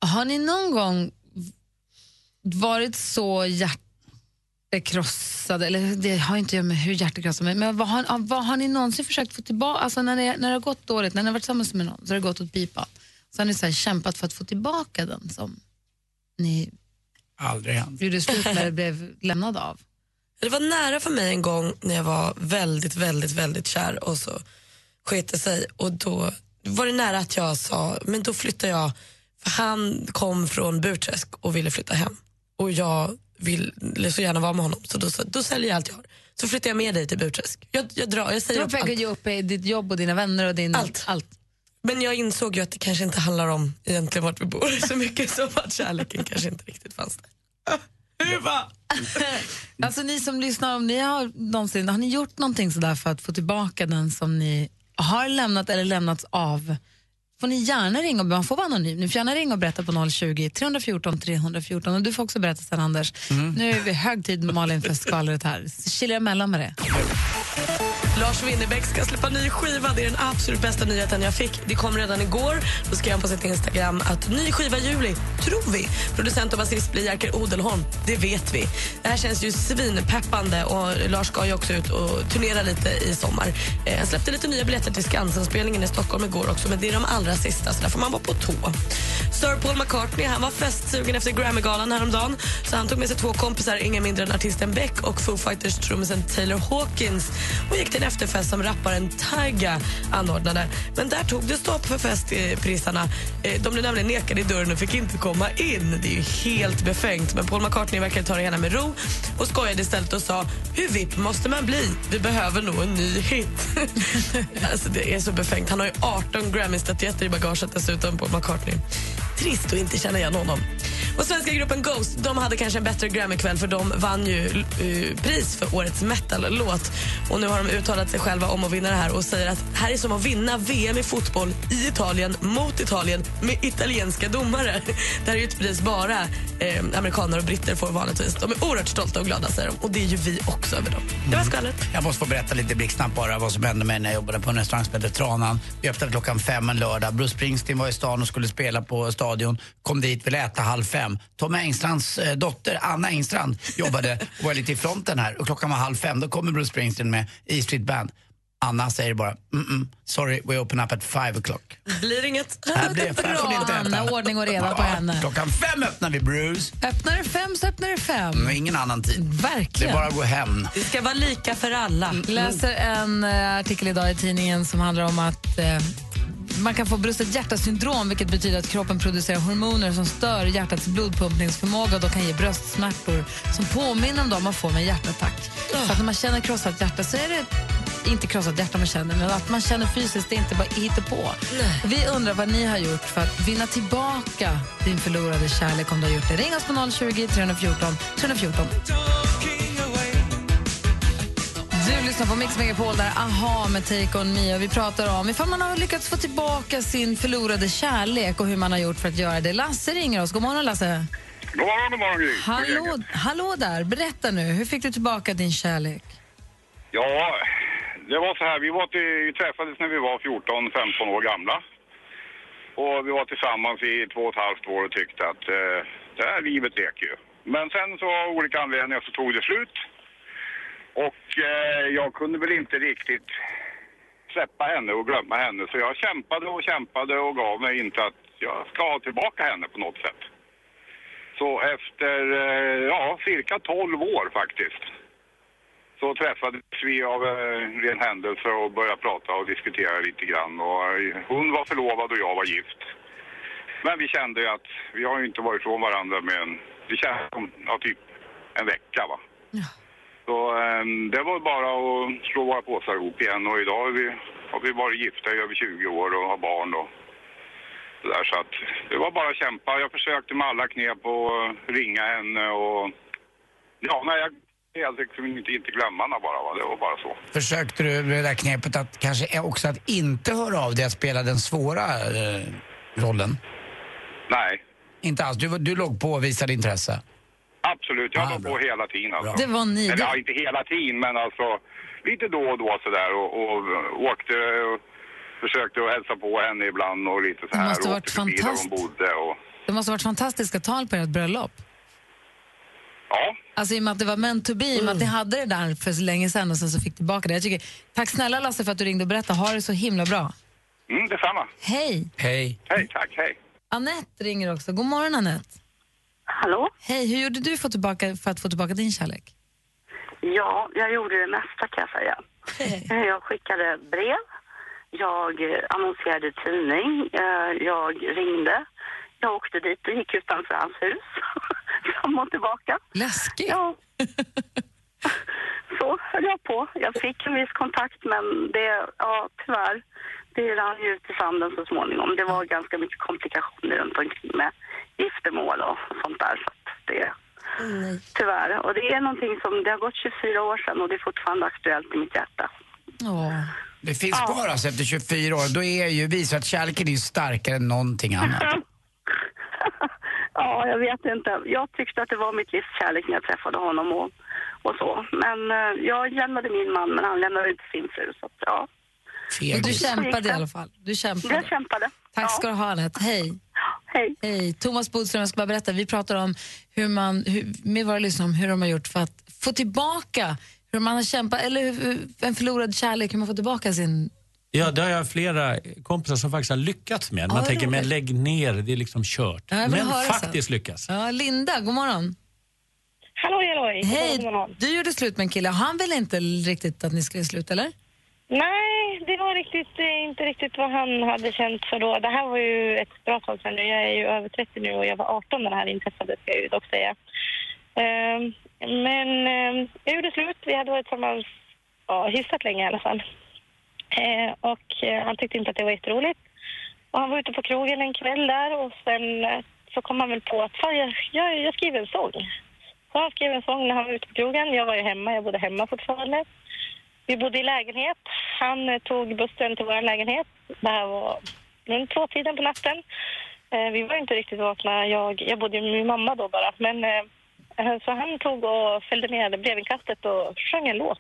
Har ni någon gång varit så hjärtekrossade, eller det har inte att göra med hur hjärtekrossade, men- men vad har, ah, vad har ni någonsin försökt få tillbaka, alltså när det, när det har gått dåligt, när ni har varit tillsammans med någon så har det gått åt pipan, så har ni så här kämpat för att få tillbaka den som ni Aldrig hänt. gjorde slut med eller blev lämnad av? Det var nära för mig en gång när jag var väldigt, väldigt, väldigt kär och så sket det sig och då var det nära att jag sa, men då flyttar jag, för han kom från Burträsk och ville flytta hem och jag ville så gärna vara med honom så då, sa- då säljer jag allt jag har. Så flyttar jag med dig till Burträsk. Jag, jag drar, jag Du säger var upp på väg att allt. ge upp eh, ditt jobb och dina vänner och din... Allt. allt. Men jag insåg ju att det kanske inte handlar om egentligen vart vi bor så mycket som att kärleken kanske inte riktigt fanns där. Uva! Alltså ni som lyssnar, om ni har någonsin, har ni gjort någonting sådär för att få tillbaka den som ni har lämnat eller lämnats av? Får ni gärna ringa, och- man får vara anonym, ni får gärna ringa och berätta på 020 314 314 och du får också berätta sen Anders. Mm. Nu är det hög tid med Malin för skvallret här, Så chilla emellan med det. Lars Winnerbäck ska släppa ny skiva. Det är den absolut bästa nyheten jag fick. Det kom redan igår. Då skrev han på sitt Instagram att ny skiva i juli, tror vi. Producent och basist blir Jerker Odelholm. Det vet vi. Det här känns ju svinpeppande och Lars ska ju också ut och turnera lite i sommar. Eh, Han släppte lite nya biljetter till Skansen-spelningen i Stockholm igår också, men det är de allra sista så där får man vara på tå. Sir Paul McCartney han var festsugen efter Grammy-galan häromdagen så han tog med sig två kompisar, ingen mindre än artisten Beck och Foo Fighters trummisen Taylor Hawkins och gick till en efterfest som rapparen Tyga anordnade. Men där tog det stopp för festprissarna. Eh, De blev nämligen nekade i dörren och fick inte komma in. Det är ju helt befängt. Men Paul McCartney verkar ta det hela med ro och skojade istället och sa hur VIP måste man bli? Vi behöver nog en ny hit. alltså, det är så befängt. Han har ju 18 Grammy-statyetter i bagaget dessutom, Paul McCartney. Trist att inte känna igen honom. Och svenska gruppen Ghost de hade kanske en bättre Grammy-kväll för de vann ju eh, pris för årets metal-låt. Och nu har de uttalat sig själva om att vinna det här och säger att här är som att vinna VM i fotboll i Italien mot Italien med italienska domare. Det här är ju ett pris bara eh, amerikaner och britter får vanligtvis. De är oerhört stolta och glada säger de och det är ju vi också över dem. Det var skvallret. Mm. Jag måste få berätta lite blixtsnabbt bara vad som hände mig när jag jobbade på en restaurang som hette Tranan. Vi öppnade klockan fem en lördag. Bruce Springsteen var i stan och skulle spela på stadion. Kom dit, ville äta halv fem. Tommy Engstrands eh, dotter, Anna Engstrand, jobbade och var lite i fronten här. Och klockan var halv fem, då kommer Bruce Springsteen med E Street Band. Anna säger bara, mm -mm, sorry, we open up at five o'clock. Blir inget. Här blir- här får ni inte Bra, äta. Anna. Ordning och reda på henne. Klockan fem öppnar vi Bruce. Öppnar det fem så öppnar det fem. Mm, Ingen annan tid. Det Verkligen. Mm. är bara att gå hem. Det ska vara lika för alla. läser en eh, artikel idag i tidningen som handlar om att eh, man kan få brustet hjärtasyndrom vilket betyder att kroppen producerar hormoner som stör hjärtats blodpumpningsförmåga och då kan ge bröstsmärtor som påminner om de man får med en hjärtattack. Så att när man känner krossat hjärta så är det inte krossat hjärta man känner, men att man känner fysiskt, det är inte bara hittepå. Vi undrar vad ni har gjort för att vinna tillbaka din förlorade kärlek om du har gjort det. Ring oss på 020 314 314. Du lyssnar på Mix Megapol där Aha med Take On Me och vi pratar om ifall man har lyckats få tillbaka sin förlorade kärlek och hur man har gjort för att göra det. Lasse ringer oss. God morgon Lasse. God morgon, god morgon Gry. God Hallå, gänget. hallå där, berätta nu. Hur fick du tillbaka din kärlek? Ja, det var så här. Vi var till, vi träffades när vi var 14-15 år gamla. Och vi var tillsammans i två och ett halvt år och tyckte att eh, det här livet leker ju. Men sen så av olika anledningar så tog det slut. Och eh, jag kunde väl inte riktigt släppa henne och glömma henne. Så jag kämpade och kämpade och gav mig inte att jag ska ha tillbaka henne på något sätt. Så efter, eh, ja, cirka 12 år faktiskt. Så träffades vi av eh, ren händelse och började prata och diskutera lite grann. Och eh, hon var förlovad och jag var gift. Men vi kände ju att vi har ju inte varit ifrån varandra med en, det kändes som, ja, typ en vecka va. Så eh, det var bara att slå våra påsar ihop igen och idag är vi, har vi varit gifta i över 20 år och har barn och så där. Så att det var bara att kämpa. Jag försökte med alla knep och ringa henne och Ja, nej, jag, jag liksom inte, inte glömma henne bara. Va? Det var bara så. Försökte du med det där knepet att kanske också att inte höra av dig att spela den svåra eh, rollen? Nej, Inte alls. Du, var- du låg på och visade intresse. absolut. Jag Ah, var bra. på hela tiden. Alltså. Det var ni. Eller Det, ja, inte hela tiden, men alltså lite då och då sådär. Och, och, åkte och försökte att hälsa på henne ibland och lite så Det här. måste och varit åkte förbi där hon fantastiskt. bodde och... det måste ha varit fantastiska tal på ert bröllop. Ja, Alltså i och med att det var meant to be, i och med att ni hade det där för så länge sedan och sen så fick tillbaka det. Jag tycker, tack snälla Lasse för att du ringde och berättade. Ha det så himla bra. mm, detsamma. Hej! Hej. Hej, tack, hej. Annette ringer också. God morgon Annette. Hallå? Hej, hur gjorde du för, tillbaka, för att få tillbaka din kärlek? Ja, jag gjorde det mesta kan jag säga. Eh, Jag skickade brev, jag eh, annonserade i tidning, eh, jag ringde. Jag åkte dit och gick utanför hans hus, fram och tillbaka. Läskigt. Ja. Så höll jag på. Jag fick en viss kontakt, men det, ja, tyvärr, det rann ju ut i sanden så småningom. Det var ganska mycket komplikationer runt omkring med giftermål och sånt där. Så att det, tyvärr. Och det är någonting som, det har gått 24 år sedan och det är fortfarande aktuellt i mitt hjärta. Åh. Det finns kvar alltså efter 24 år. Då är ju visat att kärleken är ju starkare än någonting annat. ja, jag vet inte. Jag tyckte att det var mitt livs kärlek när jag träffade honom och, och så. Men eh, jag lämnade min man, men han lämnade inte sin fru. Så att, ja, Men du Fegis. kämpade i alla fall. Du kämpade. jag kämpade. Tack ska ja. du ha, Anette. Hej. Hej. Hej. Thomas Bodström, jag ska bara berätta. Vi pratar om hur man, hur, med våra lyssnare om hur de har gjort för att få tillbaka hur man har kämpat, eller hur- hur, en förlorad kärlek, hur man får tillbaka sin... Ja, det har jag flera kompisar som faktiskt har lyckats med. Man Ja, vad tänker, men roligt. lägg ner, det är liksom kört. Ja, jag vill men höra sen. faktiskt lyckas. Ja, Linda, god morgon. Halloj, halloj. Hej. Du gjorde slut med en kille. Han ville inte riktigt att ni skulle sluta, eller? Nej, det var riktigt, eh, inte riktigt vad han hade känt för då. Det här var ju ett bra tag sedan nu. Jag är ju över 30 nu och jag var 18 när det här inträffade, ska jag ju dock säga. Ehm, Men ehm, jag gjorde slut. Vi hade varit tillsammans ja, hyfsat länge i alla fall. Eh, Och eh, han tyckte inte att det var jätteroligt. Och han var ute på krogen en kväll där och sen eh, så kom han väl på att fan, jag, jag, jag skriver en sång. Så han skrev en sång när han var ute på krogen. Jag var ju hemma, jag bodde hemma fortfarande. Vi bodde i lägenhet. Han eh, tog bussen till vår lägenhet. Det här var runt tvåtiden på natten. Eh, vi var inte riktigt vakna. Jag, jag bodde ju med min mamma då bara. Men, eh, eh, så han tog och fällde ner brevinkastet och sjöng en låt.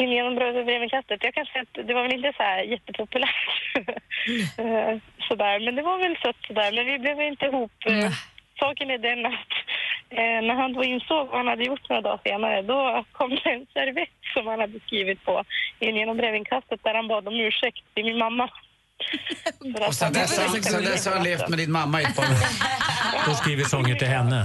In genom brev- brevinkastet. Jag kan säga att det var väl inte så här jättepopulärt. Eh, sådär. Men det var väl sött sådär. Men vi blev inte ihop. Eh, Saken är den att eh, när han då insåg vad han hade gjort några dagar senare då kom det en servett som han hade skrivit på in genom brevinkastet där han bad om ursäkt till min mamma. För att Och sen han- dess, har- sen dess har han levt med din mamma i ett par år. Och skriver sånger till henne.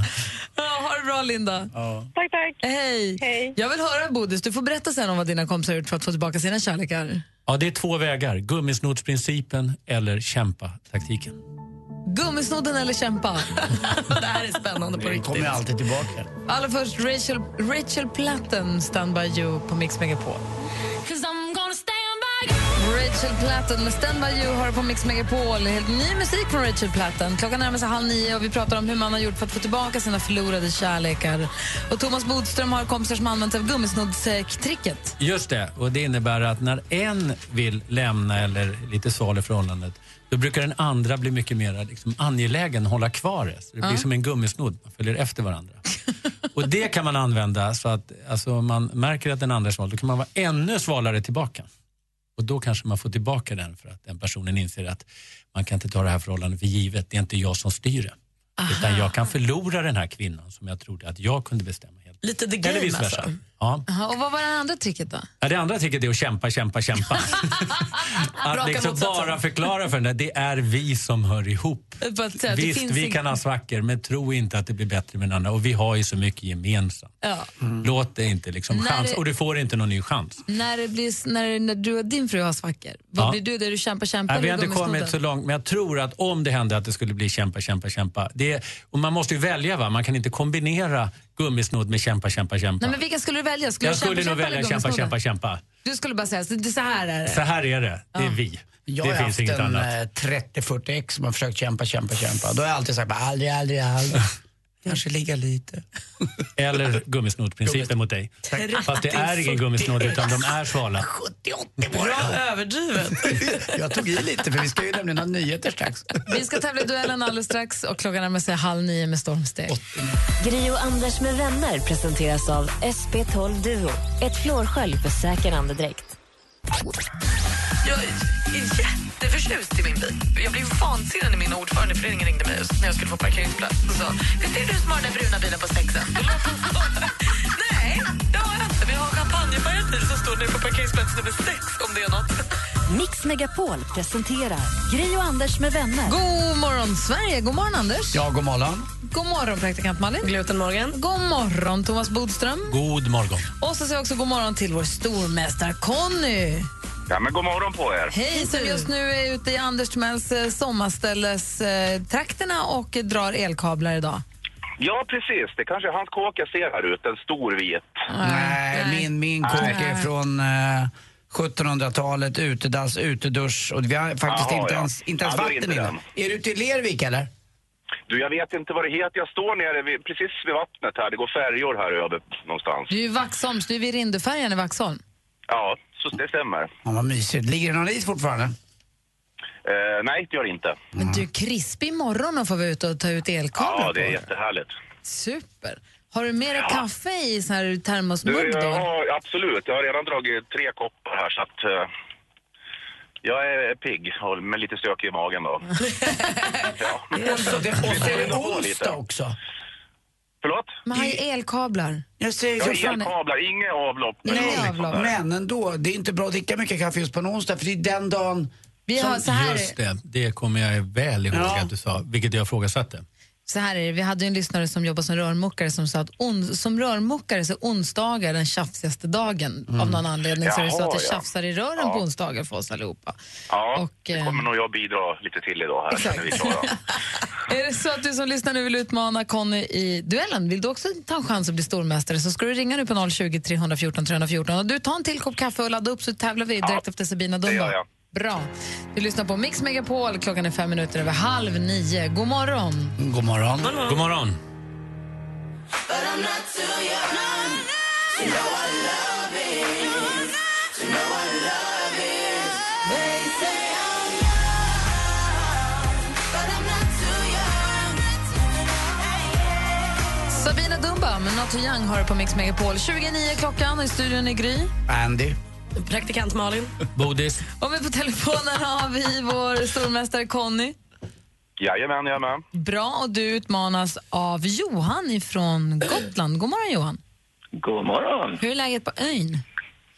Ja, ha det bra, Linda. Ja. Tack, tack. Hej. Hej. Jag vill höra, Bodis, du får berätta sen om vad dina kompisar har gjort för att få tillbaka sina kärlekar. Ja, det är två vägar. Gummisnodsprincipen eller kämpa-taktiken. Gummisnodden eller kämpa? det här är spännande på Det riktigt. kommer ju alltid tillbaka. Allra först Rachel, Rachel Platten, Stand By You på Mix Megapol. Rachel Platten med Stand By You har du på Mix Megapol. Helt ny musik från Rachel Platten. Klockan närmar sig halv nio och vi pratar om hur man har gjort för att få tillbaka sina förlorade kärlekar. Och Thomas Bodström har kompisar som har använt sig av gummisnoddstricket. Just det, och det innebär att när en vill lämna eller lite sval i förhållandet då brukar den andra bli mycket mer liksom, angelägen att hålla kvar det. Så det blir som en gummisnodd, man följer efter varandra. och det kan man använda så att alltså, om man märker att den andra är sval, då kan man vara ännu svalare tillbaka. Och då kanske man får tillbaka den för att den personen inser att man kan inte ta det här förhållandet för givet, det är inte jag som styr det. Utan jag kan förlora den här kvinnan som jag trodde att jag kunde bestämma helt. Lite the Eller game vice versa. alltså. Ja. Aha, och vad var det andra tricket då? Ja, det andra tricket är att kämpa, kämpa, kämpa. att liksom motsatsen. bara förklara för henne, det är vi som hör ihop. För att säga att det Visst, finns vi ing- kan ha svackor, men tro inte att det blir bättre med den andra. Och vi har ju så mycket gemensamt. Ja. Låt det inte liksom När chans, det- och du får inte någon ny chans. När, det blir, när, när du och din fru har svackor, vad Ja. blir du? Där du kämpar, kämpar Nej, vi har eller inte kommit så gummisnodden? långt, men jag tror att om det hände att det skulle bli kämpa, kämpa, kämpa. Det är, och man måste ju välja, va? man kan inte kombinera gummisnodd med kämpa, kämpa, kämpa. Nej, men vilka skulle du välja? Skulle jag du skulle kämpa, nog kämpa eller välja kämpa, gummisnodden? kämpa, kämpa. Du skulle bara säga så, det- så här är Så det. här är det, det är vi. Jag det har finns haft inget en annat. eh, 30-40 ex som har försökt kämpa, kämpa, kämpa. Då har jag alltid sagt bara, aldrig, aldrig, aldrig. Kanske ligga lite. Eller gummisnoddprincipen mot dig. Fast det är ingen gummisnodd utan de är svala. 70-80 var det. Överdrivet. Jag tog i lite för vi ska ju nämligen ha nyheter strax. Vi ska tävla i duellen alldeles strax och klockan närmar sig halv nio med stormsteg. Gri och Anders med vänner presenteras av SP12 Duo. Ett flårskölj för säker andedräkt. Jag är jätteförtjust i min bil. Jag blev vansinnig när min ordförande i föreningen ringde mig just när jag skulle få parkeringsplats och sa Visst är det du som har den där bruna bilen på sexan? Då låter hon så här, Nej, det har jag inte. Men jag har champagnefärgad bil som står nu på parkeringsplats nummer sex om det är något. Mix Megapol presenterar Gri och Anders med vänner. God morgon, Sverige! God morgon, Anders! Ja, god morgon. God morgon, praktikant Malin! Glutenmorgon. God morgon, Thomas Bodström! God morgon. Och så säger jag också god morgon till vår stormästare Conny! Ja, men god morgon på er. Hej, som just nu är ute i Anders Timells eh, sommarställes eh, trakterna och eh, drar elkablar idag. Ja, precis. Det kanske är hans kåk jag ser här ute, en stor vit. Nej, min, min kåk är från eh, 1700-talet, utedass, utedusch och vi har faktiskt Jaha, inte ja. ens, inte ens Ja, då är vatten inte inne. Är du ute i Lervik eller? Du, jag vet inte vad det heter. Jag står nere vid, precis vid vattnet här. Det går färjor här över någonstans. Du är i Vaxholm, så du är vid Rinderfärjan i Vaxholm. Ja, så det stämmer. Ja, vad mysigt. Ligger det någon is fortfarande? Eh, nej, det gör det inte. Men du, krispig imorgon att få vara ute och ta ut elkablar Ja, det är på. jättehärligt. Super! Har du med dig kaffe i sån här Du, termosmugg då? ja, absolut. Jag har redan dragit tre koppar här, så att... eh, jag är pigg, och med lite stök i magen då. ja. Och så, det, och så är det onsdag också. Förlåt? Men har ju elkablar. Jag säger Jag för har fan, elkablar, inga avlopp. Nej, eller någonting avlopp. sånt där. men ändå, det är inte bra att dricka mycket kaffe just på en onsdag för det är den dagen... Vi har, så, här, Just det, det kommer jag väl ihåg Ja. att du sa, vilket jag ifrågasatte. så här är det, vi hade ju en lyssnare som jobbade som rörmokare som sa att on, som rörmokare så är onsdagar den tjafsigaste dagen av någon anledning. så är det så att det Mm. Jaha, ja. tjafsar i rören på onsdagar för oss allihopa. Ja, Och, det eh, kommer nog jag bidra lite till idag här. När vi är klara. Är det så att du som lyssnar nu vill utmana Conny i duellen, vill du också ta en chans att bli stormästare så ska du ringa nu på 020 314 314. Och du, tar en till kopp kaffe och ladda upp så tävlar vi direkt efter Sabina Det Dumba. gör jag. Bra. Du lyssnar på Mix Megapol. Klockan är fem minuter över halv nio. God morgon. God morgon. God morgon. Sabina Dumba med Not Too Young har du på Mix Megapol. 29 klockan och i studion är Gry. Andy. Praktikant Malin. Bodis. Och med på telefonen har vi vår stormästare Conny. Jajamän, jag är med. Bra, och du utmanas av Johan ifrån Gotland. God morgon Johan. God morgon! Hur är läget på ön?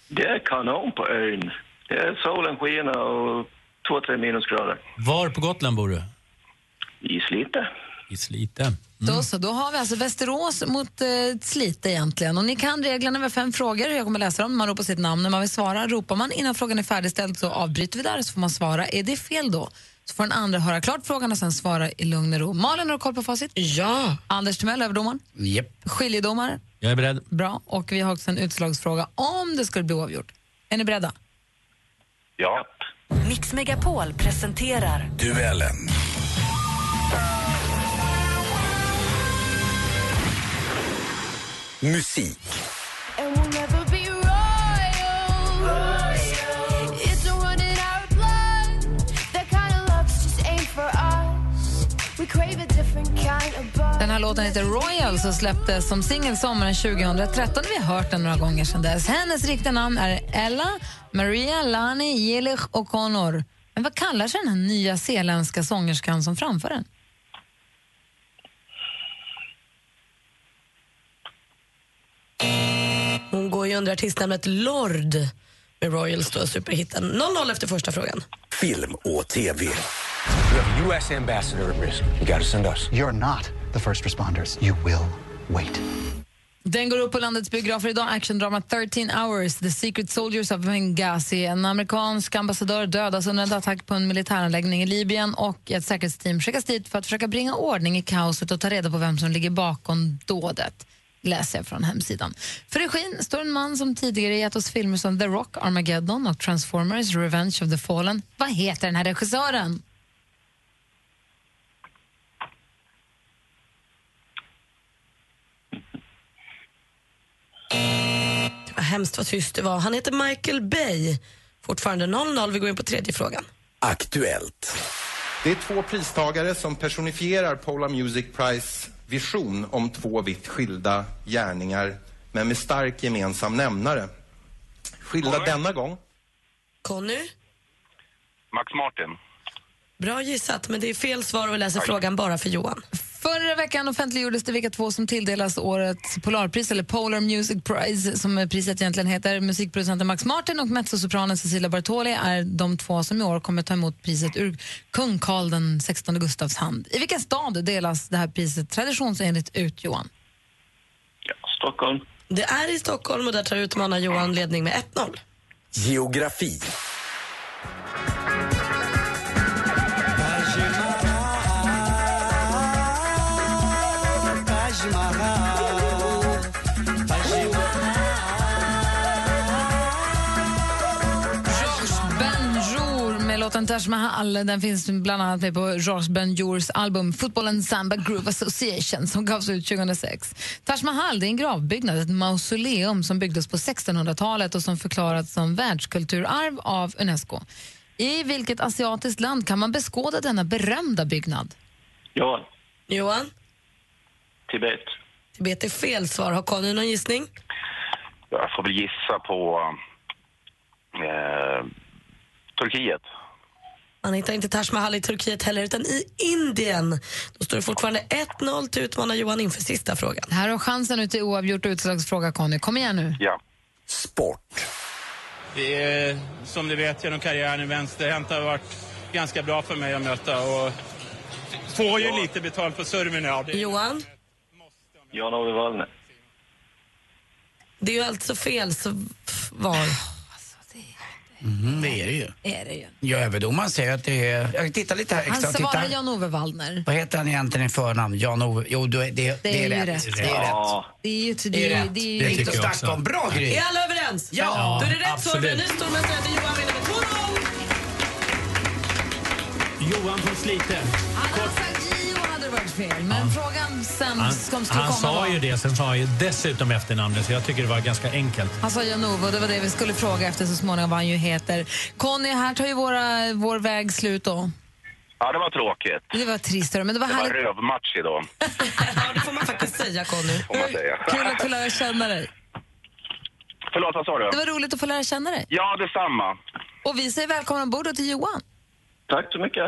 Det är kanon på ön. Det är solen skiner och två, tre minusgrader. Var på Gotland bor du? I Slite. I Slite. Då så, då har vi alltså Västerås mot eh, Slite egentligen. Och ni kan reglerna med fem frågor. Jag kommer läsa dem. Man ropar sitt namn när man vill svara. Ropar man innan frågan är färdigställd så avbryter vi där så får man svara. Är det fel då så får den andra höra klart frågan och sen svara i lugn och ro. Malin, har du koll på facit? Ja. Anders Timell, överdomaren. Japp. Skiljedomare. Jag är beredd. Bra. Och vi har också en utslagsfråga om det skulle bli oavgjort. Är ni beredda? Ja. Mix Megapol presenterar Duellen. Musik. Den här låten heter Royals och släpptes som singel sommaren 2013. Vi har hört den några gånger sedan dess. Hennes riktiga namn är Ella Maria Lani Jelich O'Connor. Men vad kallar sig den här nya zeeländska sångerskan som framför den? Hon går ju under artistnamnet Lord med Royals då, superhitten. 0-0 efter första frågan. Film och TV. We have a U.S. ambassador at risk. You gotta send us. You're not the first responders. You will wait. Den går upp på landets biografer idag. Actiondramat 13 hours, The Secret Soldiers of Benghazi. En amerikansk ambassadör dödas under en attack på en militäranläggning i Libyen och ett säkerhetsteam skickas dit för att försöka bringa ordning i kaoset och ta reda på vem som ligger bakom dådet. Läser jag från hemsidan. För regin står en man som tidigare gett oss filmer som The Rock, Armageddon och Transformers, Revenge of the Fallen. Vad heter den här regissören? Vad hemskt vad tyst det var. Han heter Michael Bay. Fortfarande 0-0. Vi går in på tredje frågan. Aktuellt. Det är två pristagare som personifierar Polar Music Prize vision om två vitt skilda gärningar men med stark gemensam nämnare. Skilda denna gång. Conny, Max Martin. bra gissat, men det är fel svar och vi läser frågan bara för Johan. Förra veckan offentliggjordes det vilka två som tilldelas årets Polarpris, eller Polar Music Prize, som priset egentligen heter. Musikproducenten Max Martin och mezzosopranen Cecilia Bartoli är de två som i år kommer ta emot priset ur kung Carl den 16 Gustavs hand. I vilken stad delas det här priset traditionsenligt ut, Johan? Stockholm. Det är i Stockholm och där tar utmanar Johan ledning med 1-0. Geografi. Georges Benjour med låten Taj Mahal. Den finns bland annat med på Georges Benjours album Football and Samba Groove Association som gavs ut 2006. Taj Mahal det är en gravbyggnad, ett mausoleum som byggdes på 1600-talet och som förklarats som världskulturarv av Unesco. I vilket asiatiskt land kan man beskåda denna berömda byggnad? Johan. Johan, Tibet. Tibet är fel svar. Har Conny någon gissning? Jag får väl gissa på eh, Turkiet. Man hittar inte Taj Mahal i Turkiet heller, utan i Indien. Då står det fortfarande 1-0 till utmanar Johan inför sista frågan. Här har chansen ut till oavgjort och utslagsfråga, Conny. Kom igen nu. Ja. Sport. Det är, som du vet genom karriären i vänsterhänt har varit ganska bra för mig att möta och får ju lite betalt på serven. Ja. Det- Johan? Jan-Ove Wallner. Det är ju alltså fel svar. Mm, det är det ju. Är det ju. Ja, överdomaren säger att det är... Jag tittar lite här Han extra. Titta. svarar Jan-Ove Wallner. Vad heter han egentligen i förnamn? Jan-Ove? Jo, det, det, Det är det ju är rätt. rätt. Det är rätt. Det är ju... Det är rätt. det är ju- Det tycker jag också. Bra Gry! Är alla överens? Ja, Då är det rätt svar. absolut. Vi är ny stormästare till Johan vinner med 2-0. Johan von Slite. Han hade sagt Gio hade det varit fel, men frågan sen Han, som skulle han komma var... sa ju det, sen sa han ju dessutom efternamnet så jag tycker det var ganska enkelt. Han sa Janova, det var det vi skulle fråga efter så småningom vad han ju heter. Conny, här tar ju våra, vår väg slut då. Ja, det var tråkigt. Det var trist, hörru, men det var Det var härligt. rövmatch idag, Säga Conny. får man säga. Kul att få lära känna dig. Förlåt, vad sa du? Det var roligt att få lära känna dig. Ja, detsamma. Och vi säger välkommen ombord då till Johan. Tack så mycket.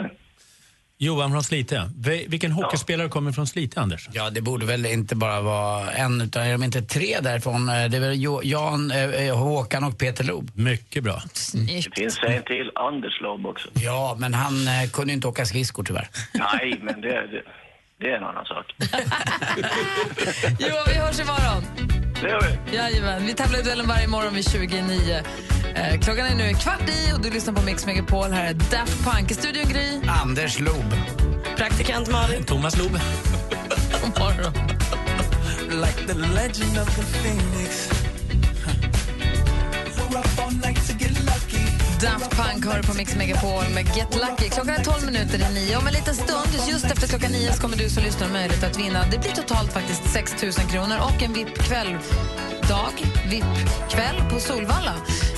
Johan från Slite. Vi- Vilken hockeyspelare kommer från Slite, Anders? Ja, det borde väl inte bara vara en, utan är de inte tre därifrån? Eh, Det är väl Jo- Jan, eh, eh, Håkan och Peter Loob. Mycket bra. Det finns en till, Anders Lobb också. Ja, men han eh, kunde ju inte åka skridskor tyvärr. Nej, men det, det, det är en annan sak. Jo, vi hörs imorgon. Det gör vi. Jajamän, vi tävlar i duellen varje morgon vid 29. Eh, klockan är nu kvart i och du lyssnar på Mix Megapol. Här är Daft Punk i studion Gry. Anders Loob. Praktikant Malin. Thomas Loob. God morgon. Like the legend of the phoenix. We're up all night to get lucky. Daft Punk hör på Mix Megapol med Get Lucky. Klockan är 12 minuter i nio. Om en liten stund, just efter klockan nio, så kommer du som lyssnar ha möjlighet att vinna. Det blir totalt faktiskt 6 000 kronor och en VIP-kväll. Dag, VIP-kväll på Solvalla.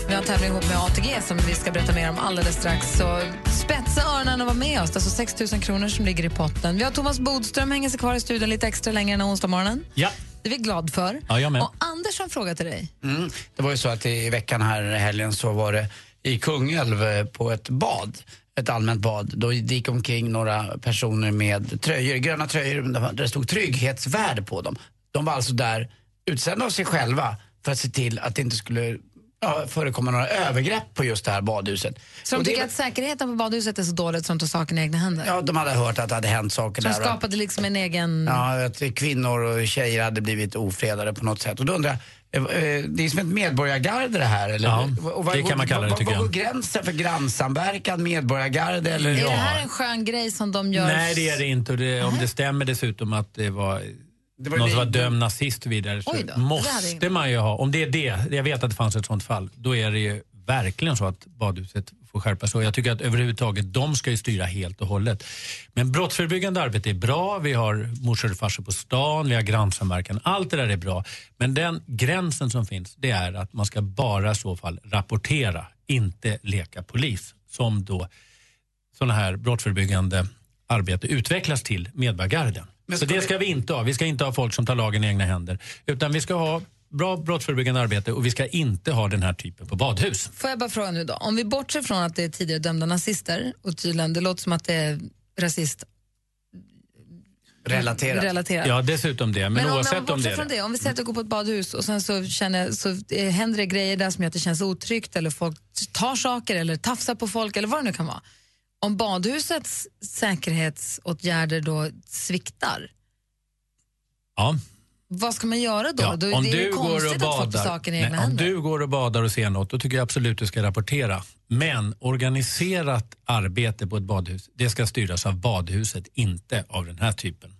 Vi har en tävling ihop med ATG som vi ska berätta mer om alldeles strax. Så spetsa öronen och var med oss. Det är alltså 6 000 kronor som ligger i potten. Vi har Thomas Bodström hänger sig kvar i studion lite extra längre än onsdag morgonen. Ja. Det är vi glad för. Ja, jag med. Och Anders har en fråga till dig. Mm. Det var ju så att i veckan här i helgen så var det i Kungälv eh, på ett bad, ett allmänt bad. Då gick omkring några personer med tröjor, gröna tröjor där det stod trygghetsvärde på dem. De var alltså där utsända av sig själva för att se till att det inte skulle ja, förekomma några övergrepp på just det här badhuset. Så de Och det- tycker att säkerheten på badhuset är så dåligt som de tar saken i egna händer. Ja, de hade hört att det hade hänt saker Så de där. och att- skapade liksom en egen... Mm. Ja, att kvinnor och tjejer hade blivit ofredade på något sätt. Och då undrar jag, eh, eh, det är som ett medborgargarde det här, eller? Ja, Och var det kan går- man kalla det, var- tycker Var jag. går gränsen för grannsamverkan, medborgargarde eller? Är det här en skön grej som de gör? Nej, det är det inte. Och det, om det stämmer dessutom att det var, var någon det- som var dömd nazist och vidare så Oj då, det hade måste jag- man ju ha, om det är det, jag vet att det fanns ett sånt fall, då är det ju verkligen så att badhuset får skärpa sig. Och Jag tycker att överhuvudtaget de ska ju styra helt och hållet. Men brottsförebyggande arbete är bra, vi har morsor och farsor på stan, vi har grannsamverkan, allt det där är bra. Men den gränsen som finns, det är att man ska bara i så fall rapportera, inte leka polis. Som då sådana här brottsförebyggande arbete utvecklas till medborgargarden. Så det ska vi inte ha. Vi ska inte ha folk som tar lagen i egna händer. Utan vi ska ha bra brottsförebyggande arbete och vi ska inte ha den här typen på badhus. Får jag bara fråga nu då, om vi bortser från att det är tidigare dömda nazister och tydligen, det låter som att det är rasist. Relaterat. Relaterat. Ja, dessutom det. Men, om, oavsett jag om det bortser är från det. det, om vi säger att jag går på ett badhus och sen så, känner, jag- så eh, händer det grejer där som gör att det känns otryggt eller folk tar saker eller tafsar på folk eller vad det nu kan vara. Om badhusets säkerhetsåtgärder då sviktar, Ja. vad ska man göra då? Ja, då om det är ju du går konstigt och att folk badar, tar saken i nej, egna om händer. du går och badar och ser något, då tycker jag absolut du ska rapportera. Men organiserat arbete på ett badhus, det ska styras av badhuset, inte av den här typen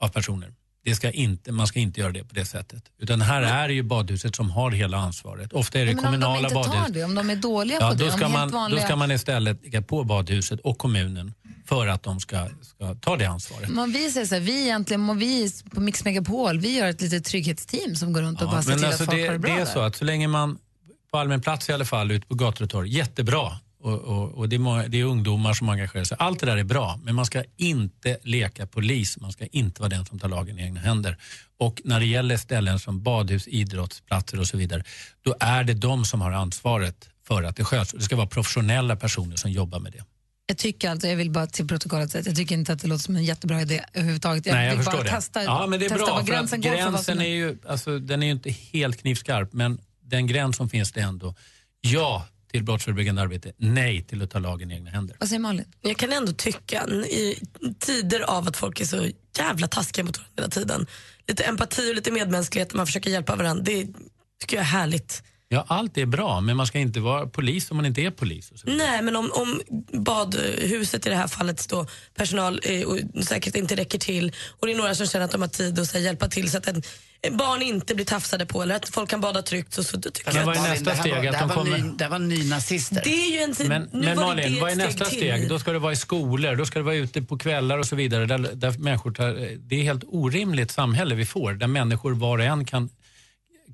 av personer. Det ska inte, man ska inte göra det på det sättet. Utan här är det ju badhuset som har hela ansvaret. Ofta är det Ja, men om de kommunala inte badhus. tar det, om de är dåliga Ja, på det, då, ska om man, helt vanliga... då ska man istället ligga på badhuset och kommunen för att de ska, ska ta det ansvaret. Man, vi säger så här, vi egentligen, må vi på Mix Megapol, vi gör ett litet trygghetsteam som går runt och bara ser till att folk alltså det, har det bra det är där. så att så länge man, på allmän plats i alla fall, ute på gator och torg, jättebra. Och, och, och det, är många, det är ungdomar som engagerar sig. Allt det där är bra, men man ska inte leka polis. Man ska inte vara den som tar lagen i egna händer. Och när det gäller ställen som badhus, idrottsplatser och så vidare, då är det de som har ansvaret för att det sköts. Och Det ska vara professionella personer som jobbar med det. Jag tycker alltså, jag vill bara till protokollet säga att jag tycker inte att det låter som en jättebra idé överhuvudtaget. Jag Nej, jag vill förstår bara det. testa, ja, men det är testa bra, var för att gränsen går för vad gränsen som är ju, alltså, den är ju inte helt knivskarp, men den gräns som finns det är ändå ja till brottsförebyggande arbete, nej till att ta lagen i egna händer. Vad säger Malin? Jag kan ändå tycka, i tider av att folk är så jävla taskiga mot varandra hela tiden, lite empati och lite medmänsklighet när man försöker hjälpa varandra, det tycker jag är härligt. Ja, allt är bra, men man ska inte vara polis om man inte är polis. Nej, men om, om badhuset i det här fallet då personal eh, och säkert inte räcker till och det är några som känner att de har tid att så här, hjälpa till så att en, en barn inte blir tafsade på eller att folk kan bada tryggt. Så, så, då tycker jag Men att- vad är nästa steg? Att de kommer... det här var nynazister. Det är ju en tid... Men, nu men var det Malin, det vad är ett nästa steg? till. Då ska det vara i skolor, då ska det vara ute på kvällar och så vidare. Där, där människor tar, det är helt orimligt samhälle vi får, där människor var och en kan,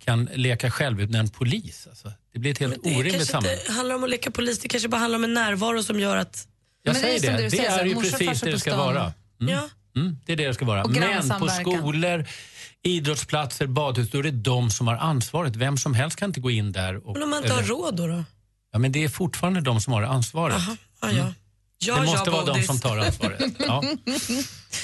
kan leka själv utan en polis. Alltså, det blir ett helt Det orimligt kanske samhälle. inte handlar om att leka polis, det kanske bara handlar om en närvaro som gör att... Jag säger det, det, är ju precis det det ska vara. Mm. Ja. Mm, det är det det ska vara. Och Men på grannsamverkan. skolor, idrottsplatser, badhus, då är det de som har ansvaret. Vem som helst kan inte gå in där. Och, Men om man inte har råd då? då? Ja, men det är fortfarande de som har ansvaret. Mm. Ja, ja. Ja, det ja, måste vara de Bodis. som tar ansvaret. Ja.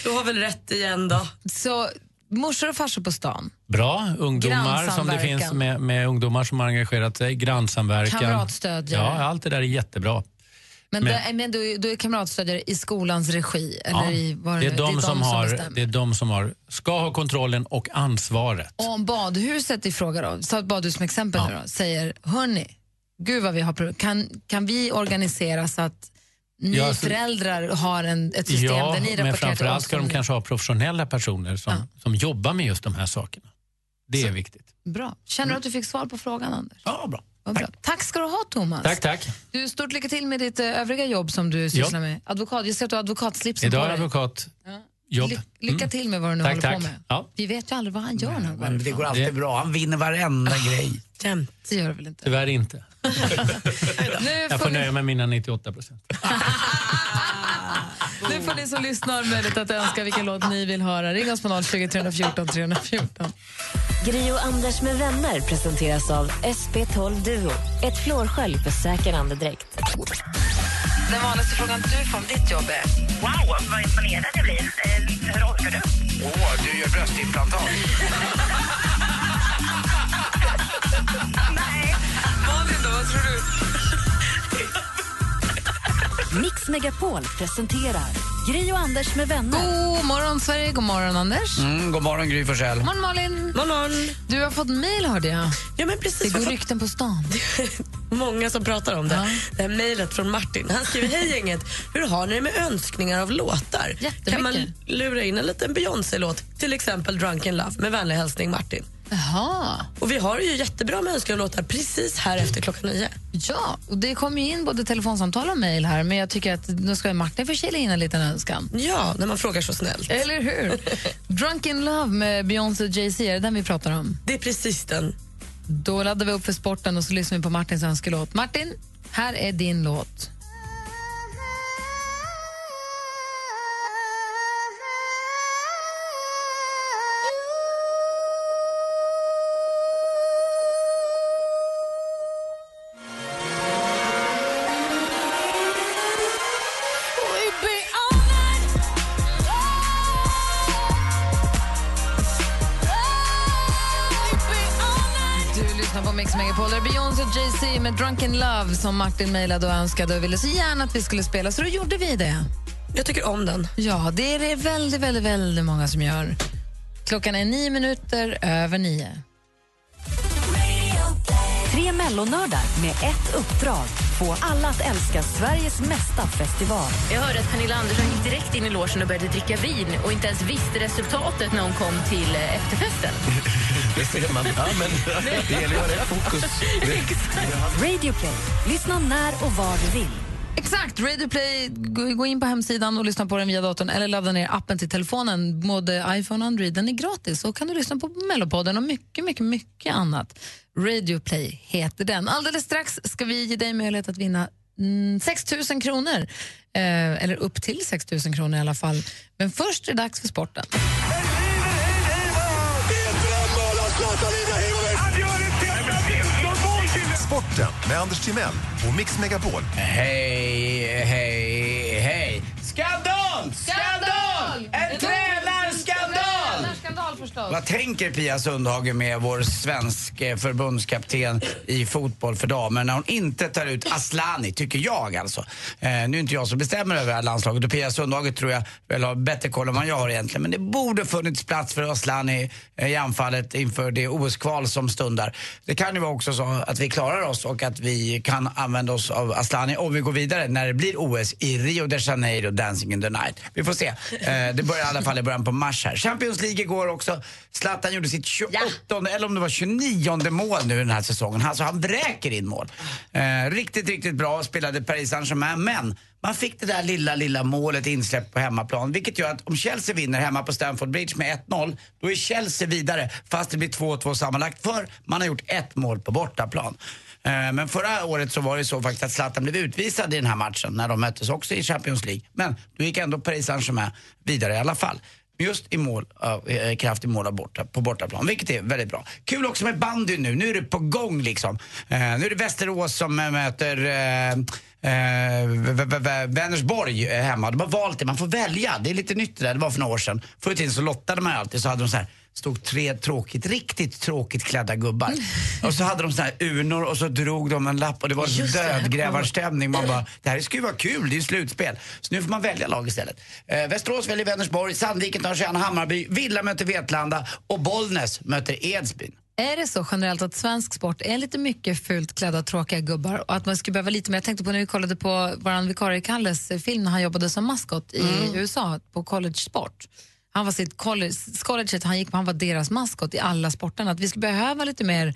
Du har väl rätt igen då. Så morsor och farsor på stan, Bra, ungdomar som det Grannsamverkan. finns med, med ungdomar som har engagerat sig, grannsamverkan. Kamratstödjare. Ja, allt det där är jättebra. men, Men- där- men då, är- då är kamratstödjare i skolans regi. Eller Ja, i, vad det, är nu- de som har, bestämmer. det är de som har, ska ha kontrollen och ansvaret. Och om badhuset i fråga då, ta ett badhus som exempel nu då, säger hörni, gud vad vi har pro- kan, kan vi organisera så att ni Ja, alltså- föräldrar har en, ett system ja, där men ni rapporterar till framförallt oss? ska om de ni- kanske ha professionella personer som, som jobbar med just de här sakerna. Det är viktigt. Bra. Känner du att du fick svar på frågan, Anders? Ja, bra. Vad bra. Tack ska du ha, Thomas. Tack, tack. Du, stort lycka till med ditt eh, övriga jobb som du sysslar med. Advokat, jag ser att du har advokatslipsen Idag på är dig. advokat. Ly- Jobb. Mm. lycka till med vad du nu Tack, håller tack. på med. Ja. Vi vet ju aldrig vad han gör någon gång. Men det går alltid bra. Han vinner varenda grej. Det gör det väl inte. Ah, Tyvärr inte. Nu Jag får får ni- nöja mig med mina 98 procent. Nu får ni som lyssnar möjlighet att önska vilken låt ni vill höra. Ring oss på 020 314 314. Gri och Anders med vänner presenteras av SP12 Duo. Ett flårskölj för säker andedräkt. Den vanligaste frågan du får om ditt jobb är... Wow, vad imponerad jag blir. Eh, Hur orkar du? Åh, du gör bröstimplantat. Malin, då, vad tror du? Mix Megapol presenterar Gri och Anders med vänner. God morgon, Sverige. God morgon, Anders. Mm, god morgon, Gry Forssell. God morgon, Malin. Du har fått mejl, hörde jag. Ja, men precis, det jag går har fått- rykten på stan. Många som pratar om det. Det här mejlet från Martin. Han skriver, hej gänget, hur har ni det med önskningar av låtar? Kan man lura in en liten Beyoncé-låt, till exempel Drunken Love, med vänlig hälsning Martin. Jaha. Och vi har ju jättebra med önskningar av låtar precis här efter klockan nio. Ja, och det kommer ju in både telefonsamtal och mejl här, men jag tycker att nu ska ju Martin få kila in en liten önskan. Ja, när man frågar så snällt. Eller hur? Drunk in love med Beyoncé och Jay-Z, är det den vi pratar om? Det är precis den. Då laddar vi upp för sporten och så lyssnar vi på Martins önskelåt. Martin, här är din låt. Du lyssnar på Mix Megapol. Det är Beyoncé och Jay-Z med Drunken Love som Martin mejlade och önskade och ville så gärna att vi skulle spela, så då gjorde vi det. Jag tycker om den. Ja, det är det väldigt, väldigt, väldigt många som gör. Klockan är nio minuter över nio. Tre mellonördar med ett uppdrag. Få alla att älska Sveriges mesta festival. Jag hörde att Pernilla Andersson gick direkt in i logen och började dricka vin och inte ens visste resultatet när hon kom till eh, efterfesten. Det ser man. Ja, men det gäller att ha rätt fokus. Radio Play. Lyssna när och var du vill. Exakt! Radio Play, gå gå in på hemsidan och lyssna på den via datorn eller ladda ner appen till telefonen, både iPhone och Android. Den är gratis och kan du lyssna på Mellopodden och mycket, mycket, mycket annat. Radio Play heter den. Alldeles strax ska vi ge dig möjlighet att vinna mm, 6 000 kronor. Eh, eller upp till 6 000 kronor i alla fall. Men först är det dags för sporten. Sporten med Anders Timell och Mix Megapol. Hej, hej, hej. Skandal! Skandal! En tränarskandal! Skandal förstås. Vad tänker Pia Sundhage med vår svenske förbundskapten i fotboll för damer när hon inte tar ut Aslani, tycker jag alltså. Eh, nu är inte jag som bestämmer över det här landslaget och Pia Sundhage tror jag väl har bättre koll än vad jag har egentligen. Men det borde funnits plats för Aslani eh, i anfallet inför det OS-kval som stundar. Det kan ju vara också så att vi klarar oss och att vi kan använda oss av Aslani om vi går vidare när det blir OS i Rio de Janeiro, Dancing in the night. Vi får se. Eh, det börjar i alla fall i början på mars här. Champions League igår också. Zlatan gjorde sitt 28 eller om det var 29 mål nu den här säsongen. Alltså han vräker in mål. Eh, riktigt, riktigt bra. Spelade Paris Saint-Germain, men man fick det där lilla, lilla målet insläppt på hemmaplan. Vilket gör att om Chelsea vinner hemma på Stamford Bridge med 1-0, då är Chelsea vidare. Fast det blir 2-2 sammanlagt, för man har gjort ett mål på bortaplan. Eh, Men förra året så var det så faktiskt att Zlatan blev utvisad i den här matchen när de möttes också i Champions League. Men då gick ändå Paris Saint-Germain vidare i alla fall. Just i mål, av- eh, kraft i mål av borta, på bortaplan, vilket är väldigt bra. Kul också med bandy nu, nu är det på gång liksom. Eh, nu är det Västerås som eh, möter eh, eh, v- v- v- Vänersborg eh, hemma. De har valt det, man får välja. Det är lite nytt det där, det var för några år sedan. Förr i tiden så lottade man ju alltid, så hade de så här stod tre tråkigt, riktigt tråkigt klädda gubbar. Och så hade de såna här urnor och så drog de en lapp och det var så Just det, jag kommer dödgrävarstämning. Man bara, det här skulle ju vara kul, det är ju slutspel. Så nu får man välja lag istället. Eh, Västerås väljer Vänersborg, Sandviken tar sig an Hammarby, Villa möter Vetlanda och Bollnäs möter Edsbyn. Är det så generellt att svensk sport är lite mycket fult klädda tråkiga gubbar och att man skulle behöva lite mer? Jag tänkte på när vi kollade på vår vikarie Kalles film när han jobbade som maskot i Mm. USA på college sport. Han var sitt college, collegeet han gick på, han var deras maskot i alla sporterna. Att vi skulle behöva lite mer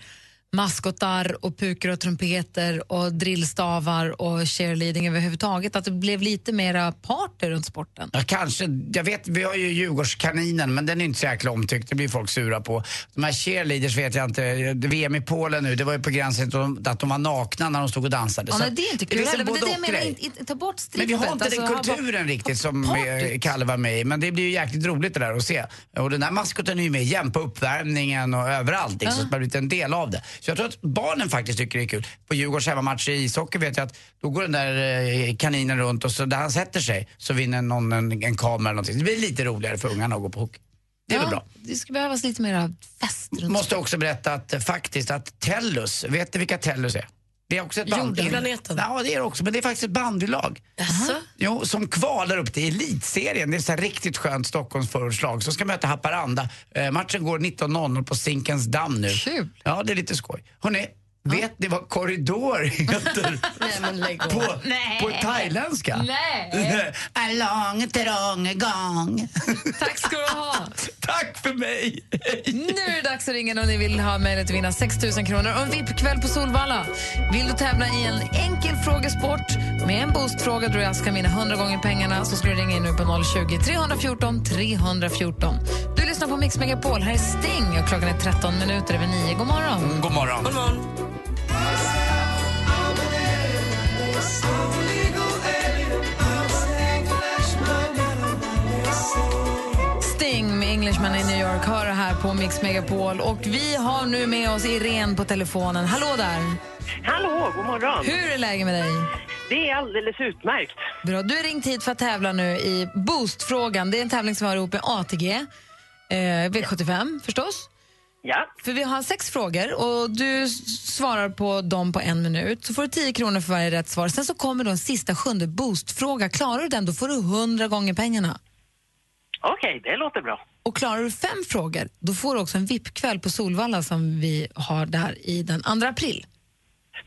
maskotar och pukor och trumpeter och drillstavar och cheerleading överhuvudtaget. Att det blev lite mera party runt sporten. Ja, kanske. Jag vet, vi har ju Djurgårdskaninen, men den är inte så jäkla omtyckt. Det blir folk sura på. De här cheerleaders vet jag inte. Det- VM i Polen nu, det var ju på gränsen till att de- att de var nakna när de stod och dansade. Ja, Så men det är inte kul finns en heller, men det är det jag menar, både-och-grej. inte- inte- ta bort Men strippet. vi har inte Alltså, den ha bara- kulturen riktigt som party. eh, Kalle var med i. Men det blir ju jäkligt roligt det där att se. Och den där maskoten är ju med igen på uppvärmningen och överallt. Liksom, Ja. Så man har blivit en del av det. Så jag tror att barnen faktiskt tycker det är kul. På Djurgårdens hemmamatch i ishockey vet jag att då går den där eh, kaninen runt och så där han sätter sig så vinner någon en, en kamera eller någonting. Det blir lite roligare för ungarna att gå på hockey. Det är väl bra. Det skulle behövas lite mera fest runt Måste också berätta att eh, faktiskt att Tellus, vet ni vilka Tellus är? Det är också ett band. Jorden. Planeten. Ja, det är det också, men det är faktiskt ett bandylag. Jo, som kvalar upp till elitserien. Det är så här riktigt skönt Stockholmsförortslag som ska möta Haparanda. Eh, matchen går 19.00 på Zinkens damm nu. Kul. Ja, det är lite skoj. Hörrni, vet ni vad korridor heter? Nej, men lägg av. På, Nej. på thailändska? Nej. A long, trång gång. Tack ska du ha. Tack för mig. Nu är det dags att ringa om ni vill ha möjlighet att vinna 6 000 kronor och en VIP-kväll på Solvalla. Vill du tävla i en enkel frågesport med en boostfråga där du alltså kan vinna 100 gånger pengarna så ska du ringa in nu på 020 314 314. Du lyssnar på Mix Megapol. Här är Sting och klockan är 13 minuter över 9. God morgon. God morgon. God morgon. Sting med Englishman i New York hör det här på Mix Megapol. Och vi har nu med oss Irene på telefonen. Hallå där! Hallå, god morgon. Hur är läget med dig? Det är alldeles utmärkt. Bra, du har ringt hit för att tävla nu i Boost-frågan. Det är en tävling som vi har ihop med ATG, eh, V75 förstås. Ja. För vi har sex frågor och du s- svarar på dem på en minut. Så får du 10 kronor för varje rätt svar. Sen så kommer då en sista sjunde Boost-fråga. Klarar du den, då får du 100 gånger pengarna. Okej, det låter bra. Och klarar du fem frågor, då får du också en VIP-kväll på Solvalla som vi har där i den 2 april.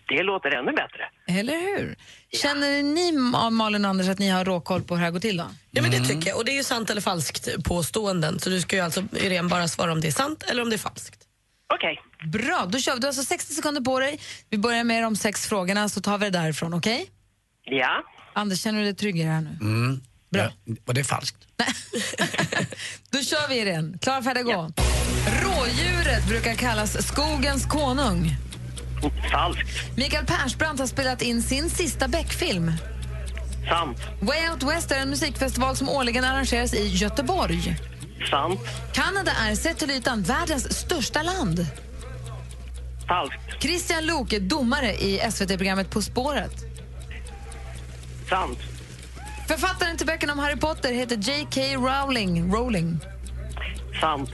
Det låter ännu bättre. Eller hur? Känner ni, Ma- Malin och Anders, att ni har råkoll på hur det här går till? Då? Ja, men det Mm. tycker jag. Och det är ju sant eller falskt påståenden. Så du ska ju alltså, Irene, bara svara om det är sant eller om det är falskt. Okej. Bra, då kör vi. Du har alltså 60 sekunder på dig. Vi börjar med de sex frågorna, så tar vi det därifrån. Okej? Ja. Anders, känner du dig tryggare här nu? Mm. Bra. Var det falskt? Då kör vi Irene. Klara, färdiga, gå. Rådjuret brukar kallas skogens konung. Falskt. Mikael Persbrandt har spelat in sin sista Beck-film. Sant. Way Out West är en musikfestival som årligen arrangeras i Göteborg. Sant. Kanada är sett till ytan världens största land. Falskt. Christian Lok är domare i SVT-programmet På spåret. Sant. Författaren till böckerna om Harry Potter heter J.K. Rowling. Rowling. Sant.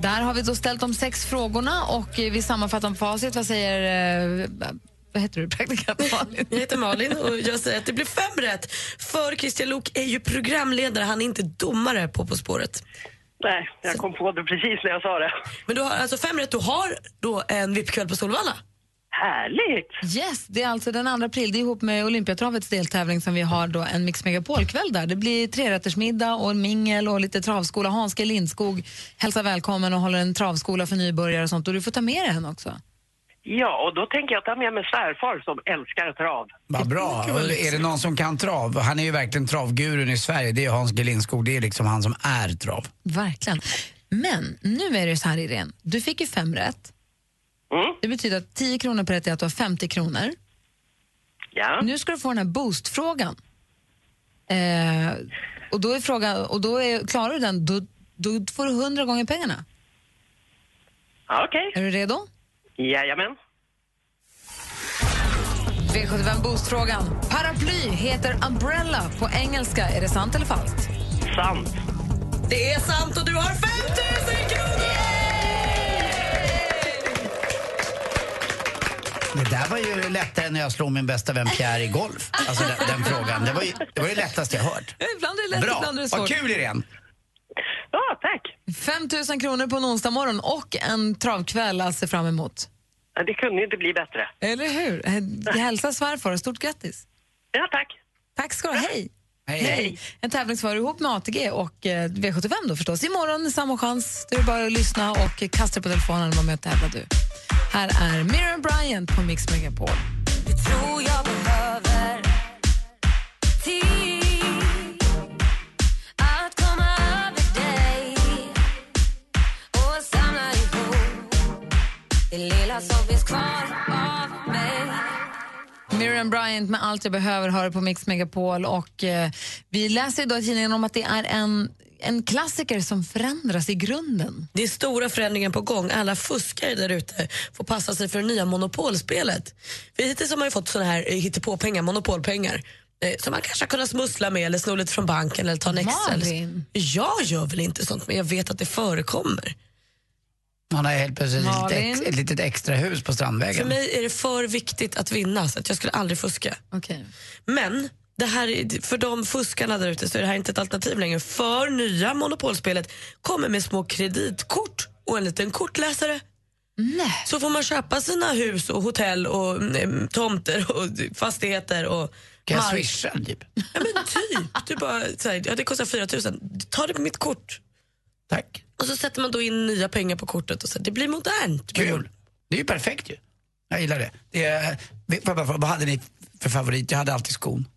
Där har vi då ställt de sex frågorna och eh, vi sammanfattar om facit. Vad säger... eh, Vad heter du, praktikant Malin? Jag heter Malin och jag säger att det blev fem rätt. För Christian Lok är ju programledare, han är inte domare på På spåret. Nej, jag kom på det precis när jag sa det. Men du har alltså fem rätt, du har då en VIP-kväll på Solvalla. Härligt! Yes, det är alltså den 2 april. Det är ihop med Olympiatravets deltävling som vi har då en Mix Megapol-kväll där. Det blir trerättersmiddag och en mingel och lite travskola. Hans G Lindskog hälsar välkommen och håller en travskola för nybörjare och sånt. Och du får ta med dig henne också. Ja, och då tänker jag ta med mig svärfar som älskar trav. Vad bra. Och är det någon som kan trav? Han är ju verkligen travgurun i Sverige. Det är Hans G Lindskog. Det är liksom han som är trav. Verkligen. Men nu är det så här, Irene. Du fick ju fem rätt. Mm. Det betyder att 10 kronor per rätt är att du har 50 kronor. Nu ska du få den här boostfrågan. Eh, och då är frågan, och då är, klarar du den, då, då får du 100 gånger pengarna. Okej. Är du redo? Jajamän. V75 Boost-frågan. Paraply heter umbrella på engelska. Är det sant eller falskt? Sant. Det är sant och du har 5000 kronor! Det där var ju lättare än när jag slog min bästa vän Pierre i golf. Alltså den, den frågan. Det var, ju, det var ju lättast jag hört. Ibland är det lätt, Bra. ibland är det svårt. Vad kul Irene! Ja, tack. 5 000 kronor på en onsdag morgon och en travkväll att se fram emot. Ja, Det kunde ju inte bli bättre. Eller hur? Eh, Hälsa svärfar och stort grattis. Ja, tack. Tack ska du ha. Hej! Hej. En tävling som var ihop med ATG och eh, V75 då förstås. Imorgon samma chans. Det är bara att lyssna och kasta dig på telefonen och vara med och tävla du. Här är Miriam Bryant på Mix Megapol. tror jag behöver tid att komma över dig och samla ihop det lilla som finns kvar av mig Miriam Bryant med Allt jag behöver hör på Mix Megapol. Och, eh, vi läser idag i tidningen om att det är en, en klassiker som förändras i grunden. Det är stora förändringar på gång. Alla fuskare där ute får passa sig för det nya monopolspelet. För hittills har man ju fått såna här eh, hittepåpengar, monopolpengar eh, som man kanske har kunnat smussla med eller sno lite från banken eller ta en Excel. Malin. Jag gör väl inte sånt, men jag vet att det förekommer. Man har helt plötsligt ett litet, Malin? ex, ett litet extra hus på Strandvägen. För mig är det för viktigt att vinna så att jag skulle aldrig fuska. Men det här, är- för de fuskarna där ute så är det här inte ett alternativ längre. För nya monopolspelet kommer med små kreditkort och en liten kortläsare. Så får man köpa sina hus och hotell och mm, tomter och fastigheter och Kan jag mark. swisha typ? Ja men typ. Du bara, så här, ja, det kostar 4 000. Ta det på mitt kort. Tack. Och så sätter man då in nya pengar på kortet och så här, det blir modernt. Kul. Det är ju perfekt ju. Jag gillar det. det är, vi- vad- vad- vad hade ni för favorit? Jag hade alltid skon.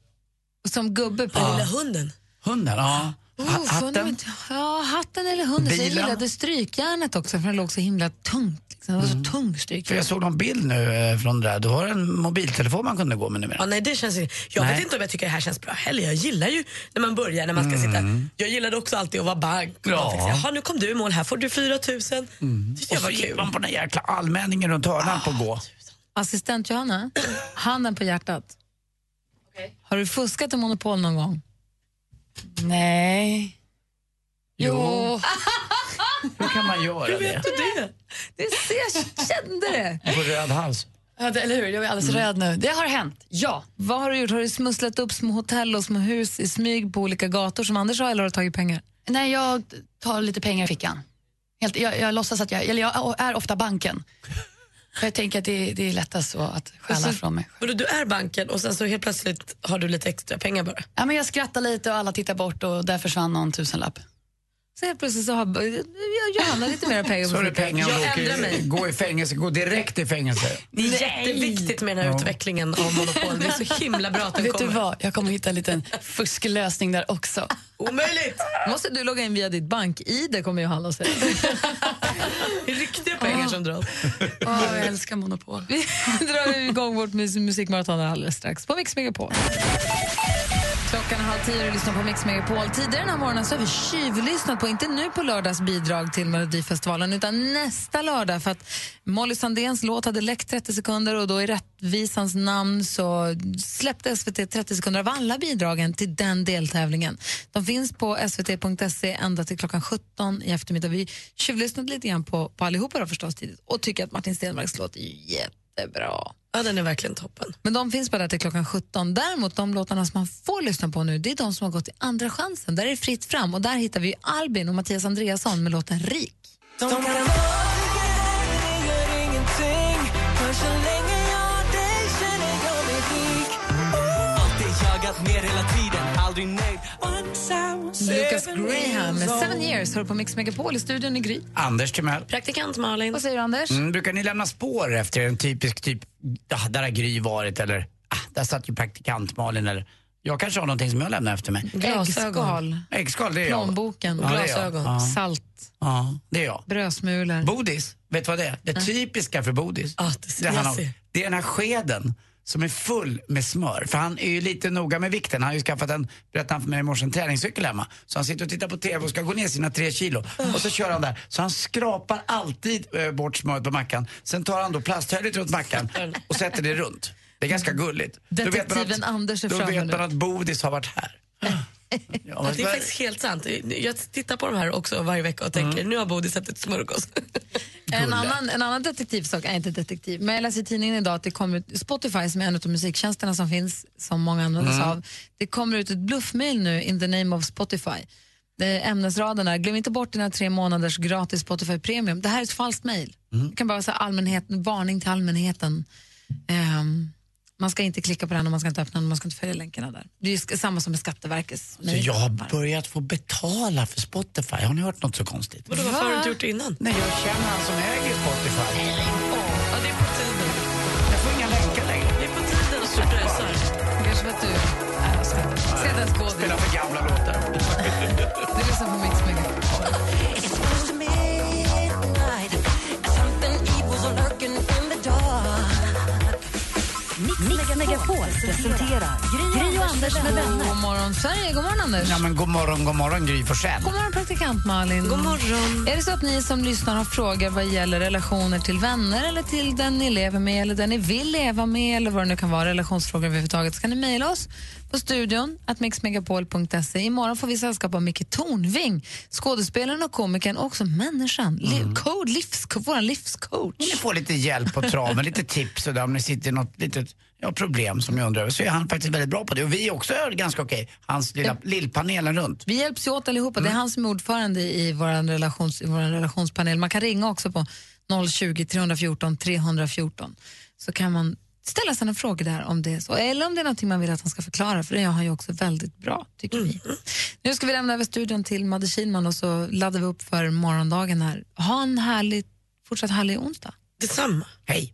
Som gubbe på Ja. lilla hunden. Hunden, ja. Oh, Ha- hatten? hatten? Inte, ja, hatten eller hunden. Så jag Bilen? gillade strykjärnet också för den låg så himla tungt. Liksom. Det var så tung Mm. För strykjärn. jag såg någon bild nu eh, från det där. Du har en mobiltelefon man kunde gå med numera. Ja, nej, det känns, inte- jag Nej. vet inte om jag tycker det här känns bra heller. Jag gillar ju när man börjar, när man ska sitta. Jag gillade också alltid att vara bank. och Mm. Ja. Mm. bara fixa, Jaha, nu kom du i mål, här får du 4 000. Och så gick man på den där jäkla allmänningen runt hörnan på gå. Assistent Johanna, handen på hjärtat. Har du fuskat i Monopol någon gång? Nej. Jo. Hur kan man göra det? det? Det ser, jag kände det. På röd hals. Ja, det, eller hur? Jag är alldeles Mm. röd nu. Det har hänt, ja. Vad har du gjort? Har du smusslat upp små hotell och små hus i smyg på olika gator som Anders har eller har du tagit pengar? Nej, jag tar lite pengar i fickan. Helt, jag, jag låtsas att jag, eller jag är ofta banken. För Jag tänker att det, det är lättast så att stjäla så- från mig. Men du är banken och sen så helt plötsligt har du lite extra pengar bara. Ja, men jag skrattar lite och alla tittar bort och där försvann någon tusenlapp. Så helt plötsligt så har jag, Johanna lite mer pengar Så är det pengar och Jag åker- ändrar mig. gå i fängelse. Gå direkt i fängelse. Det är jätteviktigt med den här utvecklingen av Monopol. Det är så himla bra att den Vet kommer. du vad? Jag kommer hitta en liten fusklösning där också. Omöjligt! Måste du logga in via ditt bank-id kommer Johanna att säga. Riktiga pengar som dras. Åh, jag älskar Monopol. Vi drar igång vårt mus- musikmaraton alldeles strax på Mix Megapol. Klockan är halv tio och du lyssnar på Mix Megapol. Tidigare den här morgonen så har vi tjuvlyssnat på, inte nu på lördags bidrag till Melodifestivalen, utan nästa lördag för att Molly Sandéns låt hade läckt 30 sekunder och då i rättvisans namn så släppte SVT 30 sekunder av alla bidragen till den deltävlingen. De finns på svt.se E ända till klockan 17 i eftermiddag. Vi tjuvlyssnade lite grann på, på allihopa då förstås tidigt och tycker att Martin Stenmarcks låt är ju jättebra. Ja, den är verkligen toppen. Men de finns bara till klockan 17. Däremot de låtarna som man får lyssna på nu, det är de som har gått i Andra chansen. Där är det fritt fram och där hittar vi Albin och Mattias Andreasson med låten Rik. De kan vara gör ingenting För så länge jag har dig känner jag mig rik Alltid jagat mer hela tiden, aldrig nöjd Once I was Lucas seven Graham med years old. Seven years hör på Mix Megapol i studion i Gry. Anders Timell. Praktikant Malin. Vad säger du Anders? Mm, brukar ni lämna spår efter en typisk typ, ah, där har Gry varit eller ah, där satt ju praktikant Malin eller jag kanske har någonting som jag lämnar efter mig. Äggskal. Äggskal, det är jag. Plånboken, Ja, det är jag. glasögon, Ja. salt. Ja, det är jag. Brödsmulor. Bodis, vet du vad det är? Det typiska för Bodis. det, jag handlar om- ser. det är den här skeden som är full med smör. För han är ju lite noga med vikten. Han har ju skaffat en, berättade han för mig i morse, en träningscykel hemma. Så han sitter och tittar på TV och ska gå ner sina tre kilo. Och så kör han där. Så han skrapar alltid eh, bort smöret på mackan. Sen tar han då plasthöljet runt mackan och sätter det runt. Det är ganska gulligt. Då vet man att- Mm. Detektiven Anders är Då framme vet nu. man att Bodis har varit här. Ja, Ja, men- det är faktiskt helt sant. Jag tittar på de här också varje vecka och tänker Mm. nu har Bodil sett ett smörgås. En annan, en annan detektivsak, nej inte detektiv, men jag läser i tidningen idag att det kommer ut, Spotify som är en av de musiktjänsterna som finns, som många använder sig Mm. av, det kommer ut ett bluffmail nu in the name of Spotify. Det är ämnesraderna, glöm inte bort dina tre månaders gratis Spotify Premium. Det här är ett falskt mail. Det kan bara säga allmänheten, varning till allmänheten. Ehm, man ska inte klicka på den och man ska inte öppna den och man ska inte följa länkarna där. Det är ju sk- samma som med Skatteverkets Så mejl. jag har börjat få betala för Spotify. Har ni hört något så konstigt? Vadå, varför har du inte gjort det innan? Nej, jag känner han som äger Spotify. Ja, det är på tiden. Jag får inga länkar längre. Det är på tiden att du pröjsar. Kanske för att du Äh, är skådis. Spelar för gamla låtar. Du lyssnar på Mix Megapol. It's close to midnight Something evil's lurking in the dark Mix Megapol presenterar Gry och Anders med vänner. God morgon Sverige, god morgon Anders. Ja, men god morgon, god morgon Gry Forssell. God morgon praktikant Malin. God morgon. Är det så att ni som lyssnar har frågor vad gäller relationer till vänner eller till den ni lever med eller den ni vill leva med eller vad det nu kan vara, relationsfrågor överhuvudtaget, så kan ni mejla oss på studion att mixmegapol.se. Imorgon får vi sällskap av Micke Tornving, skådespelaren och komikern och också människan, Mm. liv, code, livs, vår livscoach. Ni får lite hjälp på traven, lite tips och där, om ni sitter i något litet ja, problem som ni undrar över så är han faktiskt väldigt bra på det. Och vi också är ganska okej, hans lilla lillpanelen runt. Vi hjälps ju åt allihopa. Det är han som är ordförande i vår relations, i våran relationspanel. Man kan ringa också på 020 314 314 så kan man ställa sina frågor där om det är så. Eller om det är någonting man vill att han ska förklara, för det gör han ju också väldigt bra, tycker vi. Nu ska vi lämna över studion till Madde Kihlman och så laddar vi upp för morgondagen här. Ha en härlig, fortsatt härlig onsdag. Detsamma. Hej!